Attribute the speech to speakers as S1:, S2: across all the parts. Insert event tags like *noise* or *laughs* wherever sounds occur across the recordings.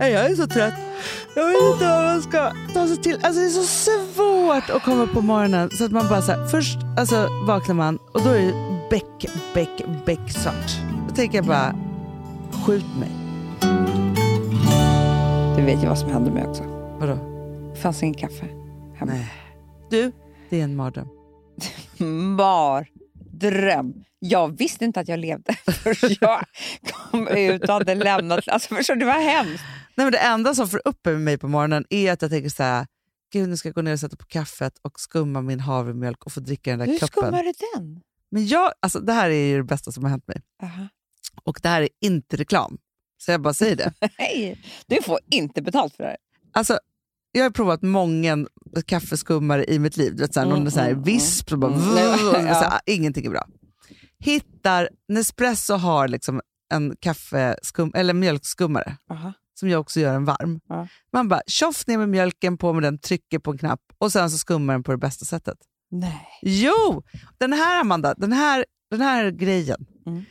S1: Nej, Jag är så trött. Jag vet inte vad man ska ta sig till. Alltså det är så svårt att komma på morgonen. Så att man bara så här, först alltså, vaknar man och då är det bäck, bäck, bäcksvart. Då tänker jag bara, skjut mig.
S2: Du vet ju vad som hände mig också.
S1: Vadå?
S2: Det fanns ingen kaffe hemma.
S1: Nej. Du, det är en mardröm.
S2: Mardröm. Jag visste inte att jag levde *laughs* förrän jag kom ut och hade lämnat. Alltså förstår du, det var hemskt.
S1: Nej, men det enda som får upp med mig på morgonen är att jag tänker så här, gud nu ska jag gå ner och sätta på kaffet och skumma min havremjölk och få dricka den där
S2: Hur
S1: koppen.
S2: skummar du den?
S1: Men jag, alltså, det här är ju det bästa som har hänt mig.
S2: Aha.
S1: Och det här är inte reklam. Så jag bara säger det.
S2: Nej, du får inte betalt för det här.
S1: Alltså, jag har provat många kaffeskummare i mitt liv. Du vet, såhär,
S2: Mm,
S1: någon är såhär
S2: mm,
S1: visp och bara,
S2: Mm.
S1: vrr,
S2: Ja.
S1: såhär, ingenting är bra. Hittar, Nespresso har liksom en kaffeskum, eller mjölkskummare
S2: Aha.
S1: som jag också gör en varm.
S2: Ja.
S1: Man bara tjoff ner med mjölken, på med den, trycker på en knapp och sen så skummar den på det bästa sättet.
S2: Nej. *laughs*
S1: Jo! Den här Amanda, den här, den här grejen.
S2: Mm.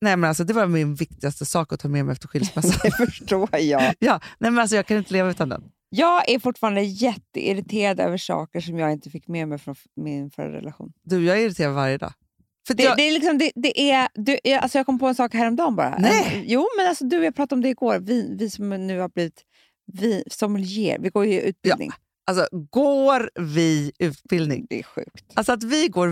S1: Nej, men alltså, det var min viktigaste sak att ta med mig efter
S2: *laughs*
S1: skilsmässan.
S2: Det förstår jag.
S1: ja, nej, men alltså, jag kan inte leva utan den.
S2: Jag är fortfarande jätteirriterad över saker som jag inte fick med mig från f- min förra relation.
S1: Du, jag är irriterad varje dag. För att
S2: Det,
S1: jag,
S2: det är liksom, det, det är, du, jag- alltså jag kom på en sak häromdagen bara.
S1: Nej.
S2: Jo, men alltså du, jag pratade om det igår. Vi, vi som nu har blivit vi, sommelier, vi går ju utbildning.
S1: alltså, går vi utbildning?
S2: Det är sjukt.
S1: Alltså att vi går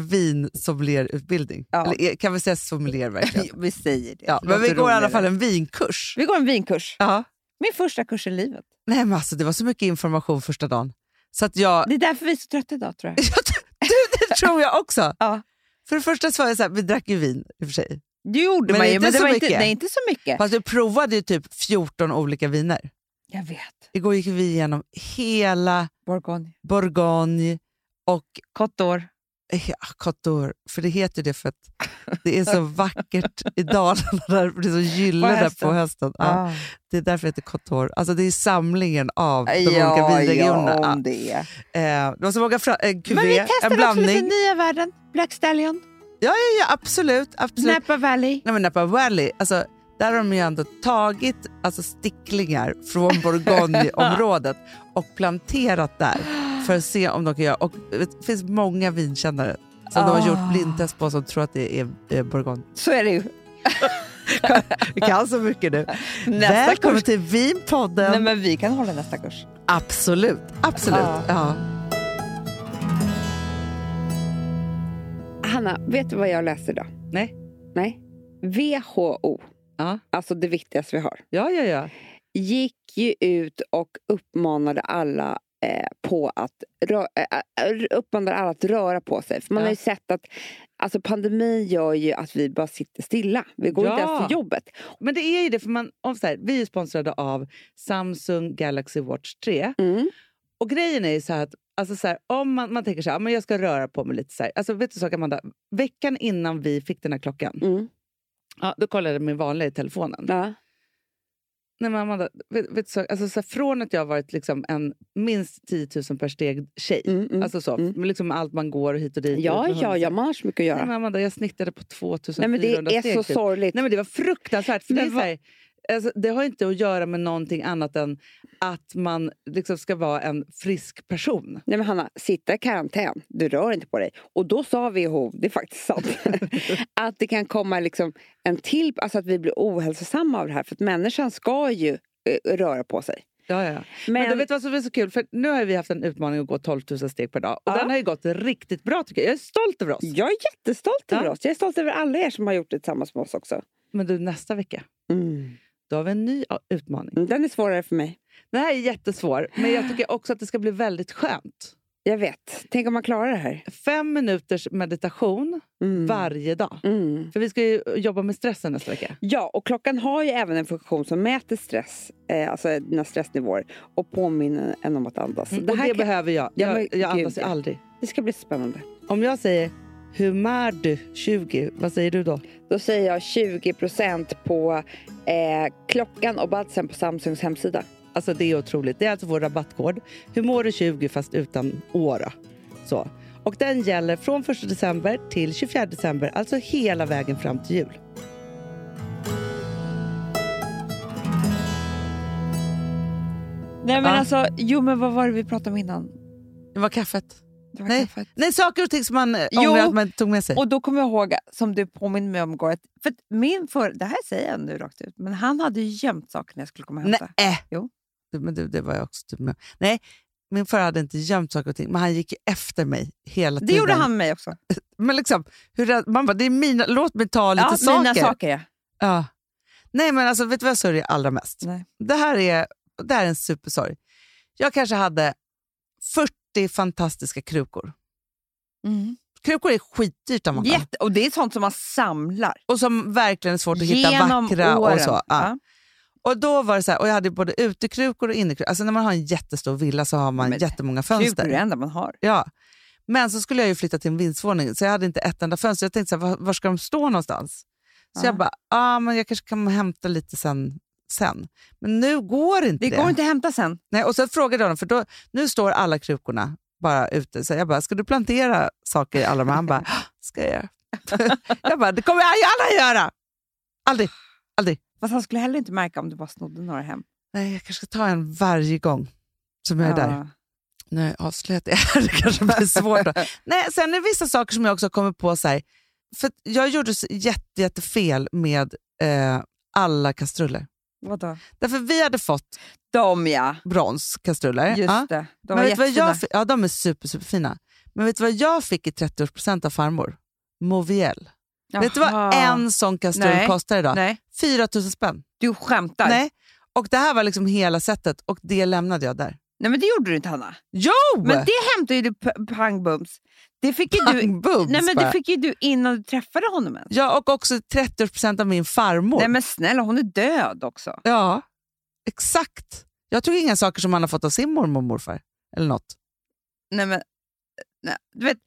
S1: vin-sommelierutbildning.
S2: Ja.
S1: Eller eh, kan vi säga sommelier
S2: *laughs*
S1: verkligen?
S2: Vi säger det.
S1: Ja,
S2: Det
S1: men vi
S2: låter
S1: går i alla
S2: roligare.
S1: fall en vinkurs.
S2: Vi går en vinkurs.
S1: Ja.
S2: Min första kurs i livet.
S1: Nej, men alltså, det var så mycket information första dagen. Så att
S2: *laughs*
S1: jag... *laughs*
S2: Det är därför vi är så trötta idag tror jag.
S1: Ja, du, du, det tror jag också.
S2: Ja.
S1: För det första så var jag så här, vi drack ju vin i och för sig.
S2: *laughs* Det gjorde
S1: Men
S2: man ju,
S1: inte
S2: men det
S1: så
S2: var inte,
S1: mycket.
S2: nej, inte så mycket.
S1: Fast vi provade ju typ 14 olika viner.
S2: Jag vet.
S1: Igår gick vi igenom hela
S2: Bourgogne.
S1: Bourgogne och
S2: Côte d'Or.
S1: Ja, Côte för det heter ju det för att det
S2: *laughs*
S1: är så vackert i Dalarna, där det är så gylle
S2: På
S1: där
S2: hösten.
S1: på hösten. Ja,
S2: Ah.
S1: Det är därför det heter Côte Alltså det är samlingen av de olika
S2: ja,
S1: vinregionerna.
S2: ja,
S1: Ja.
S2: om det. är.
S1: Eh, det var så många fra- en
S2: Men vi
S1: kuvé, en
S2: testar också
S1: blandning.
S2: lite nya världen. Black Stallion,
S1: Ja, absolut. absolut.
S2: Napa Valley.
S1: Nej, men Napa Valley, alltså, där har de ju ändå tagit alltså, sticklingar
S2: *laughs*
S1: från Bourgogne-området och planterat där för att se om de kan göra... Och, vet, det finns många vinkännare som de har
S2: Ah.
S1: gjort blindtest på som tror att det är eh, Bourgogne.
S2: Så är det ju.
S1: Vi kan så *laughs* mycket nu.
S2: Nästa
S1: Välkommen
S2: kurs.
S1: till Vinpodden!
S2: Nej, men vi kan hålla nästa kurs.
S1: Absolut, absolut.
S2: Ah.
S1: Ja.
S2: Hanna, vet du vad jag läste idag?
S1: Nej.
S2: Nej. WHO,
S1: Ja.
S2: alltså det viktigaste vi har,
S1: ja, ja, ja.
S2: gick ju ut och uppmanade alla eh, på att rö- eh, eh, uppmanade alla att röra på sig. För man
S1: Ja.
S2: har ju sett att alltså pandemin gör ju att vi bara sitter stilla. Vi går inte
S1: Ja.
S2: ens till jobbet.
S1: Men det är ju det, för man, om så här, vi är sponsrade av Samsung Galaxy Watch 3.
S2: Mm.
S1: Och grejen är ju så här att alltså så här, om man, man tänker så här, "Ja, men jag ska röra på mig lite. Så här. Alltså, vet du så Amanda? Veckan innan vi fick den här klockan,
S2: Mm.
S1: ja, då kollade jag min vanliga i telefonen.
S2: Ja.
S1: Nej, men Amanda, vet, vet du så, alltså, så här, från att jag har varit liksom en minst 10 000 per steg tjej,
S2: Mm, mm.
S1: alltså så,
S2: mm.
S1: med liksom allt man går hit och dit.
S2: ja,
S1: och ut med
S2: ja,
S1: hunden.
S2: ja, man har så mycket att
S1: Nej, men
S2: göra.
S1: Amanda, jag snittade på 2400
S2: Nej, men det är
S1: steg.
S2: så
S1: typ.
S2: sorgligt.
S1: Nej, men det var fruktansvärt. För
S2: Men
S1: det, är så
S2: vad-
S1: här, alltså, det har inte att göra med någonting annat än att man liksom ska vara en frisk person.
S2: Nej men Hanna, sitta i karantän, du rör inte på dig. Och då sa WHO, det är faktiskt
S1: *laughs*
S2: sant, att det kan komma liksom en till, alltså att vi blir ohälsosamma av det här. För att människan ska ju eh, röra på sig.
S1: Ja, ja.
S2: Men,
S1: Men, du vet du vad som är så kul? För nu har vi haft en utmaning att gå 12 000 steg per dag. Och
S2: Ja.
S1: den har ju gått riktigt bra tycker jag. Jag är stolt över oss.
S2: jag är jättestolt
S1: Ja.
S2: över oss. Jag är stolt över alla er som har gjort det tillsammans med oss också.
S1: Men du, nästa vecka,
S2: Mm.
S1: då har vi en ny ja, utmaning.
S2: Den är svårare för mig.
S1: Den här är jättesvår, men jag tycker också att det ska bli väldigt skönt.
S2: Jag vet. Tänk om man klarar det här.
S1: Fem minuters meditation
S2: Mm.
S1: varje dag.
S2: Mm.
S1: För vi ska ju jobba med stressen nästa vecka.
S2: Ja, och klockan har ju även en funktion som mäter stress, eh, alltså dina stressnivåer och påminner en om att andas.
S1: Mm,
S2: Det
S1: och det
S2: här kan,
S1: behöver jag.
S2: Ja, men
S1: Jag, jag andas
S2: gud,
S1: ju
S2: ja.
S1: aldrig.
S2: det ska bli spännande.
S1: Om jag säger “Hur mår du 20?” Vad säger du då?
S2: Då säger jag 20 på eh, klockan och badsen på Samsungs hemsida.
S1: Alltså det är otroligt. Det är alltså vår rabattkod. Hur mår du 20 fast utan åra. Så. Och den gäller från 1 december till 24 december, alltså hela vägen fram till jul.
S2: Nej men
S1: Ja.
S2: alltså, jo men vad var det vi pratade om innan?
S1: Det var kaffet.
S2: Det var
S1: Nej.
S2: kaffet.
S1: Nej, saker och ting som man eh,
S2: Jo.
S1: ångrar att man inte tog med sig.
S2: Och då kommer jag ihåg, som du påminner mig om igår, att, för att min för, det här säger jag nu rakt ut, men han hade ju gömt saker när jag skulle komma och
S1: Nej.
S2: hämta.
S1: Äh.
S2: Jo.
S1: Du, men du, det var jag också typ med. Nej, min far hade inte gömt saker och ting, men han gick ju efter mig hela
S2: Det
S1: tiden.
S2: gjorde han med mig också.
S1: Men liksom, hur, rädd- man bara, det är mina, låt mig ta lite
S2: ja,
S1: saker.
S2: mina saker ja.
S1: Ja. Nej, men alltså, vet du vad jag sörjer allra mest?
S2: Nej.
S1: Det, här är, det här är en supersorg. Jag kanske hade 40 fantastiska krukor.
S2: Mm.
S1: Krukor är skitdyrt, Amanda.
S2: Jätte, och det är sånt som man samlar.
S1: Och som verkligen är svårt att hitta
S2: Genom
S1: vackra
S2: åren.
S1: och så. Ja.
S2: Ja.
S1: Och då var det så här, och jag hade både utekrukor och innekrukor. Alltså när man har en jättestor villa så har man
S2: Men
S1: jättemånga
S2: Krukor är det
S1: fönster.
S2: enda man har.
S1: Ja. Men så skulle jag ju flytta till en vindsvåning, så jag hade inte ett enda fönster. Jag tänkte så här, var, var ska de stå någonstans? Så
S2: Ja.
S1: jag bara, ah, men jag kanske kan hämta lite sen. sen. Men nu går inte
S2: Det
S1: det.
S2: går inte att hämta sen.
S1: Nej, och sen frågade jag honom, för då, nu står alla krukorna bara ute. Så jag bara, ska du plantera saker i alla de här? Han bara, "Ah, ska jag göra. *laughs* jag bara, det kommer jag aldrig göra! Aldrig.
S2: Fast han skulle heller inte märka om du bara snodde några hem.
S1: Nej, jag kanske ska ta en varje gång som jag är där.
S2: Ja.
S1: Nu har jag avslöjat det här, *laughs* det kanske blir svårt. *laughs* Då. Nej, sen är det vissa saker som jag också har kommit på. Så här, för att jag gjorde så jätte, jättefel med eh, alla kastruller.
S2: Vadå?
S1: Därför vi hade fått
S2: De ja,
S1: bronskastruller.
S2: just
S1: Eh, Ja.
S2: det. De var
S1: Men vet du vad
S2: jättefina.
S1: jag fick, ja, de är super, superfina. Men vet du vad jag fick i 30-årspresent av farmor? Moviel. Vet du vad
S2: Jaha.
S1: en sån kastrull
S2: Nej.
S1: kostar idag?
S2: Nej,
S1: 4 000 spänn.
S2: du skämtar.
S1: Nej. Och det här var liksom hela sättet och det lämnade jag där.
S2: Nej men det gjorde du inte Hanna.
S1: Jo!
S2: Men det hämtade ju du p- pang bums. Det fick ju du,
S1: *laughs* Pang, bums,
S2: nej, men
S1: bara.
S2: det fick ju du innan du träffade honom ens.
S1: Ja, och också 30% av min farmor.
S2: Nej men snälla, hon är död också.
S1: Ja, exakt. Jag tog inga saker som han har fått av sin mormor och morfar. Eller något.
S2: Nej men, nej, du vet.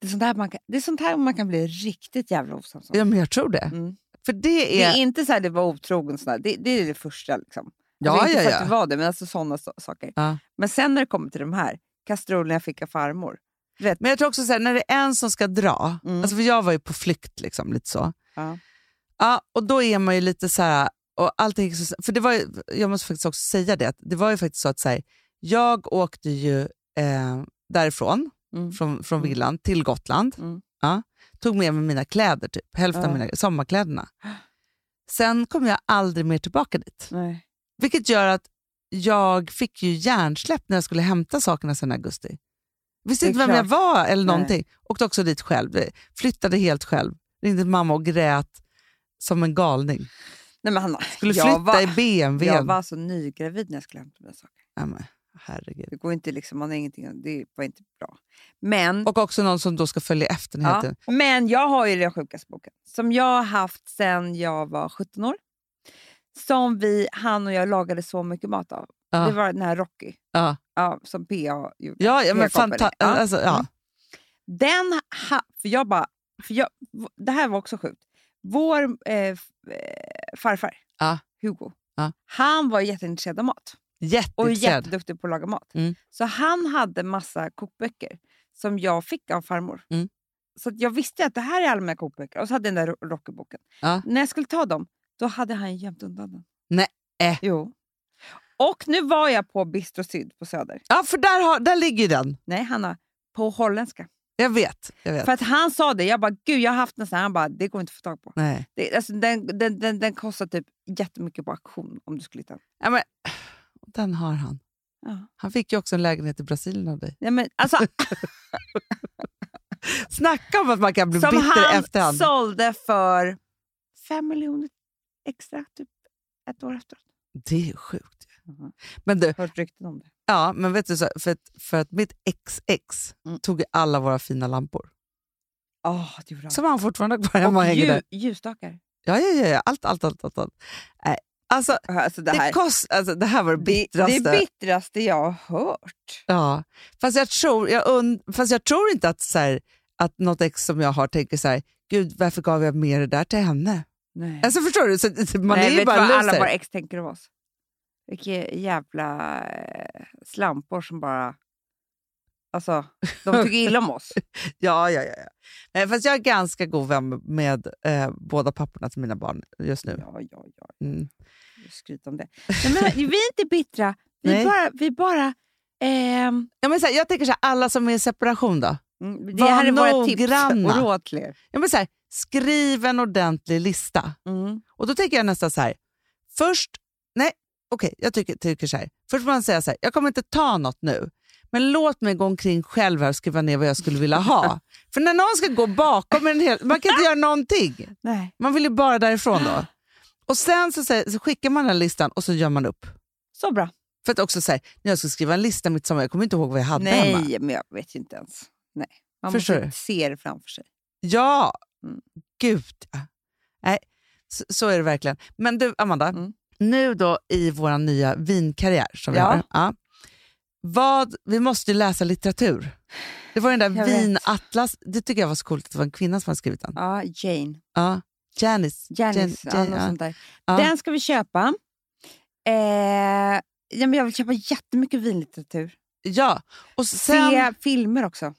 S2: Det är, sånt här man kan, det är sånt här man kan bli riktigt jävla osams om.
S1: Ja, men jag tror det.
S2: Mm.
S1: För det
S2: Det
S1: är...
S2: är inte så här det var otrogen, sån här. Det, det är det första. Liksom.
S1: ja,
S2: alltså,
S1: ja,
S2: inte för att
S1: ja.
S2: det var det, men alltså sådana so- saker.
S1: Ja.
S2: Men sen när det kommer till de här kastrullerna jag fick av farmor.
S1: Men jag tror också så här, när det är en som ska dra.
S2: Mm.
S1: Alltså för jag var ju på flykt liksom, lite så.
S2: Ja.
S1: Ja, och då är man ju lite så här... Och allting, gick så- för det var ju, jag måste faktiskt också säga det, att det var ju faktiskt så att så här, jag åkte ju eh, därifrån,
S2: Mm.
S1: från, från
S2: Mm.
S1: villan, till Gotland.
S2: Mm.
S1: Ja, tog med mig mina kläder, typ, hälften av
S2: Ja.
S1: mina sommarkläderna. Sen kom jag aldrig mer tillbaka dit.
S2: Nej.
S1: Vilket gör att jag fick ju hjärnsläpp när jag skulle hämta sakerna sen i augusti. Visste
S2: Det är
S1: inte vem jag var eller
S2: Nej.
S1: någonting. Åkte också dit själv. Flyttade helt själv. Ringde mamma och grät som en galning.
S2: Nej, men Hanna,
S1: Skulle
S2: jag
S1: flytta
S2: var-
S1: i BMW.
S2: Jag var alltså nygravid när jag skulle hämta mina saker.
S1: Nej, men, herregud.
S2: Det går inte liksom, man har ingenting, det var inte bra. Men,
S1: Och också någon som då ska följa efter hela
S2: ja,
S1: tiden.
S2: men jag har ju den sjukaste boken som jag har haft sedan jag var 17 år. Som vi, han och jag lagade så mycket mat av.
S1: Ja.
S2: Det var den här Rocky.
S1: Ja.
S2: Ja, som PA gjorde.
S1: Ja, ja, men
S2: Jag kom på
S1: fanta-
S2: det. Ja.
S1: Alltså, ja.
S2: Mm. Den, ha, för jag bara, för jag, v- det här var också sjukt. Vår eh, f- eh, farfar,
S1: Ja.
S2: Hugo,
S1: Ja.
S2: han var jätteintresserad av mat. Och
S1: Jätteintresserad.
S2: jätteduktig på att laga mat.
S1: Mm.
S2: Så han hade massa kokböcker som jag fick av farmor.
S1: Mm.
S2: Så att jag visste att det här är alla mina kokböcker. Och så hade jag den där Ro- Rocky-boken.
S1: Ja.
S2: När jag skulle ta dem, då hade han gömt undan den.
S1: Nej. Äh.
S2: Jo. Och nu var jag på Bistro Syd på Söder.
S1: Ja, för där, har, där ligger ju den.
S2: Nej, Hanna. På holländska.
S1: Jag vet. Jag vet.
S2: För att han sa det. Jag bara, gud jag har haft den så här. Han bara, det går inte att få tag på.
S1: Nej.
S2: Det, alltså, den, den, den, den kostar typ jättemycket på auktion om du skulle hitta den.
S1: Ja, men, den har han.
S2: Ja.
S1: Han fick ju också en lägenhet i Brasilien av dig.
S2: Nej, men, alltså,
S1: Snacka om att man kan bli
S2: som
S1: bitter i
S2: han
S1: efterhand.
S2: sålde för fem miljoner extra typ ett år efteråt.
S1: Det är sjukt. ju.
S2: Mhm.
S1: Men du,
S2: Hört rykten om det.
S1: ja, men vet du, så, för, att, för att mitt ex-ex
S2: Mm.
S1: tog ju alla våra fina lampor.
S2: Ja, det gjorde han.
S1: Som han fortfarande har kvar hemma och hänger där.
S2: ljus, ljusstakar.
S1: Ja, ja, ja, ja. Allt, allt, allt. allt, allt. Nej, alltså,
S2: Alltså, det,
S1: det,
S2: här,
S1: kost, alltså, det här var det
S2: det, det
S1: bittraste.
S2: är bittraste jag har hört.
S1: Ja, fast jag tror, jag und, fast jag tror inte att, så här, att något ex som jag har tänker så här, gud varför gav jag med det där till henne?
S2: Nej.
S1: Alltså förstår du? Så, man
S2: Nej,
S1: är ju
S2: vet
S1: bara
S2: du vad alla
S1: loser.
S2: våra ex tänker om oss? Vilka jävla eh, slampor som bara... Alltså, de tycker illa om *laughs* oss.
S1: Ja, ja, ja. ja. Nej, fast jag är ganska god vän med eh, båda papporna till mina barn just nu.
S2: Ja, ja, ja.
S1: Mm.
S2: skryta om det. Nej, men, vi är inte bittra. Vi
S1: Nej.
S2: bara... Vi bara ehm,
S1: Ja, men så här, jag tänker så här, alla som är i separation då?
S2: Mm, det
S1: Var
S2: här är våra tips
S1: noggranna.
S2: och råd till er.
S1: Ja, men så här, skriv en ordentlig lista.
S2: Mm.
S1: Och då tänker jag nästan så här. Först, nej, okej, jag tycker, tycker så här. Först får man säga så här, jag kommer inte ta något nu. Men låt mig gå omkring själv här och skriva ner vad jag skulle vilja ha. För när någon ska gå bakom en hel, man kan inte göra någonting.
S2: Nej.
S1: Man vill ju bara därifrån då. Och sen så, säger, så skickar man den här listan och så gör man upp.
S2: Så bra.
S1: För att också säga, när jag ska skriva en lista mitt sommar, jag kommer inte ihåg vad jag hade hemma.
S2: Nej, men jag vet ju inte ens. Nej. Man
S1: Förstår
S2: måste
S1: du?
S2: se det framför sig.
S1: Ja,
S2: Mm.
S1: gud. ja. Nej, så, så är det verkligen. Men du, Amanda.
S2: Mm.
S1: Nu då i vår nya vinkarriär som vi
S2: Ja.
S1: har. Ja. Vad, vi måste ju läsa litteratur. Det var den där
S2: Jag vet.
S1: vinatlas. Det tycker jag var så coolt att det var en kvinna som hade skrivit den.
S2: Ja, Jane.
S1: Ja. Janice.
S2: Janice,
S1: Jan-
S2: ja,
S1: Jan-
S2: något
S1: ja.
S2: sånt där.
S1: Ja.
S2: Den ska vi köpa. Eh, ja, men jag vill köpa jättemycket vinlitteratur.
S1: Ja. Och
S2: Se
S1: sen,
S2: filmer också.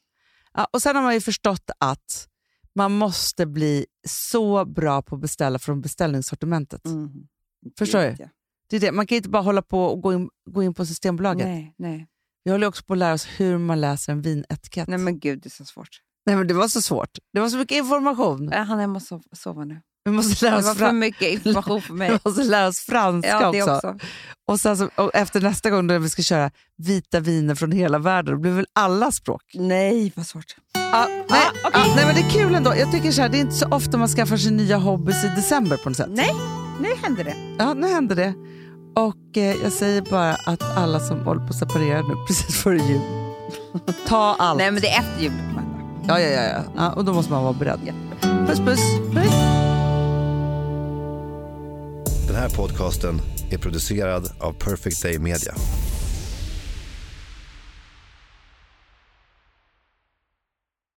S1: ja, och sen har man ju förstått att man måste bli så bra på att beställa från beställningssortimentet.
S2: Mm.
S1: Förstår
S2: Vet jag.
S1: Det är det. Man kan ju inte bara hålla på och gå in, gå in på Systembolaget.
S2: Nej, nej.
S1: Vi håller ju också på att lära oss hur man läser en vinetikett.
S2: nej, men gud det är så svårt.
S1: Nej, men det var så svårt. Det var så mycket information.
S2: Eh, Han är hemma och sov- sova nu.
S1: Vi måste lära
S2: Det
S1: oss
S2: var
S1: fran-
S2: för mycket information
S1: *laughs*
S2: för mig.
S1: Vi måste lära oss franska
S2: Ja, det
S1: också.
S2: också.
S1: Och, sen så, och efter nästa gång när vi ska köra vita viner från hela världen, då blir väl alla språk.
S2: Nej, vad svårt.
S1: Ah, nej, ah, nej, men det är kul ändå. Jag tycker så här, det är inte så ofta man skaffar sig nya hobbys i december på något sätt.
S2: Nej, nu händer det.
S1: Ja, nu hände det. Och eh, jag säger bara att alla som håller på att separera nu precis före jul, *laughs* ta allt.
S2: Nej, men det är efter jul. Amanda.
S1: Ja, ja, ja, ja. ja. Och då måste man vara beredd.
S2: Ja.
S1: Puss, puss. puss.
S3: Den här podcasten är producerad av Perfect Day Media.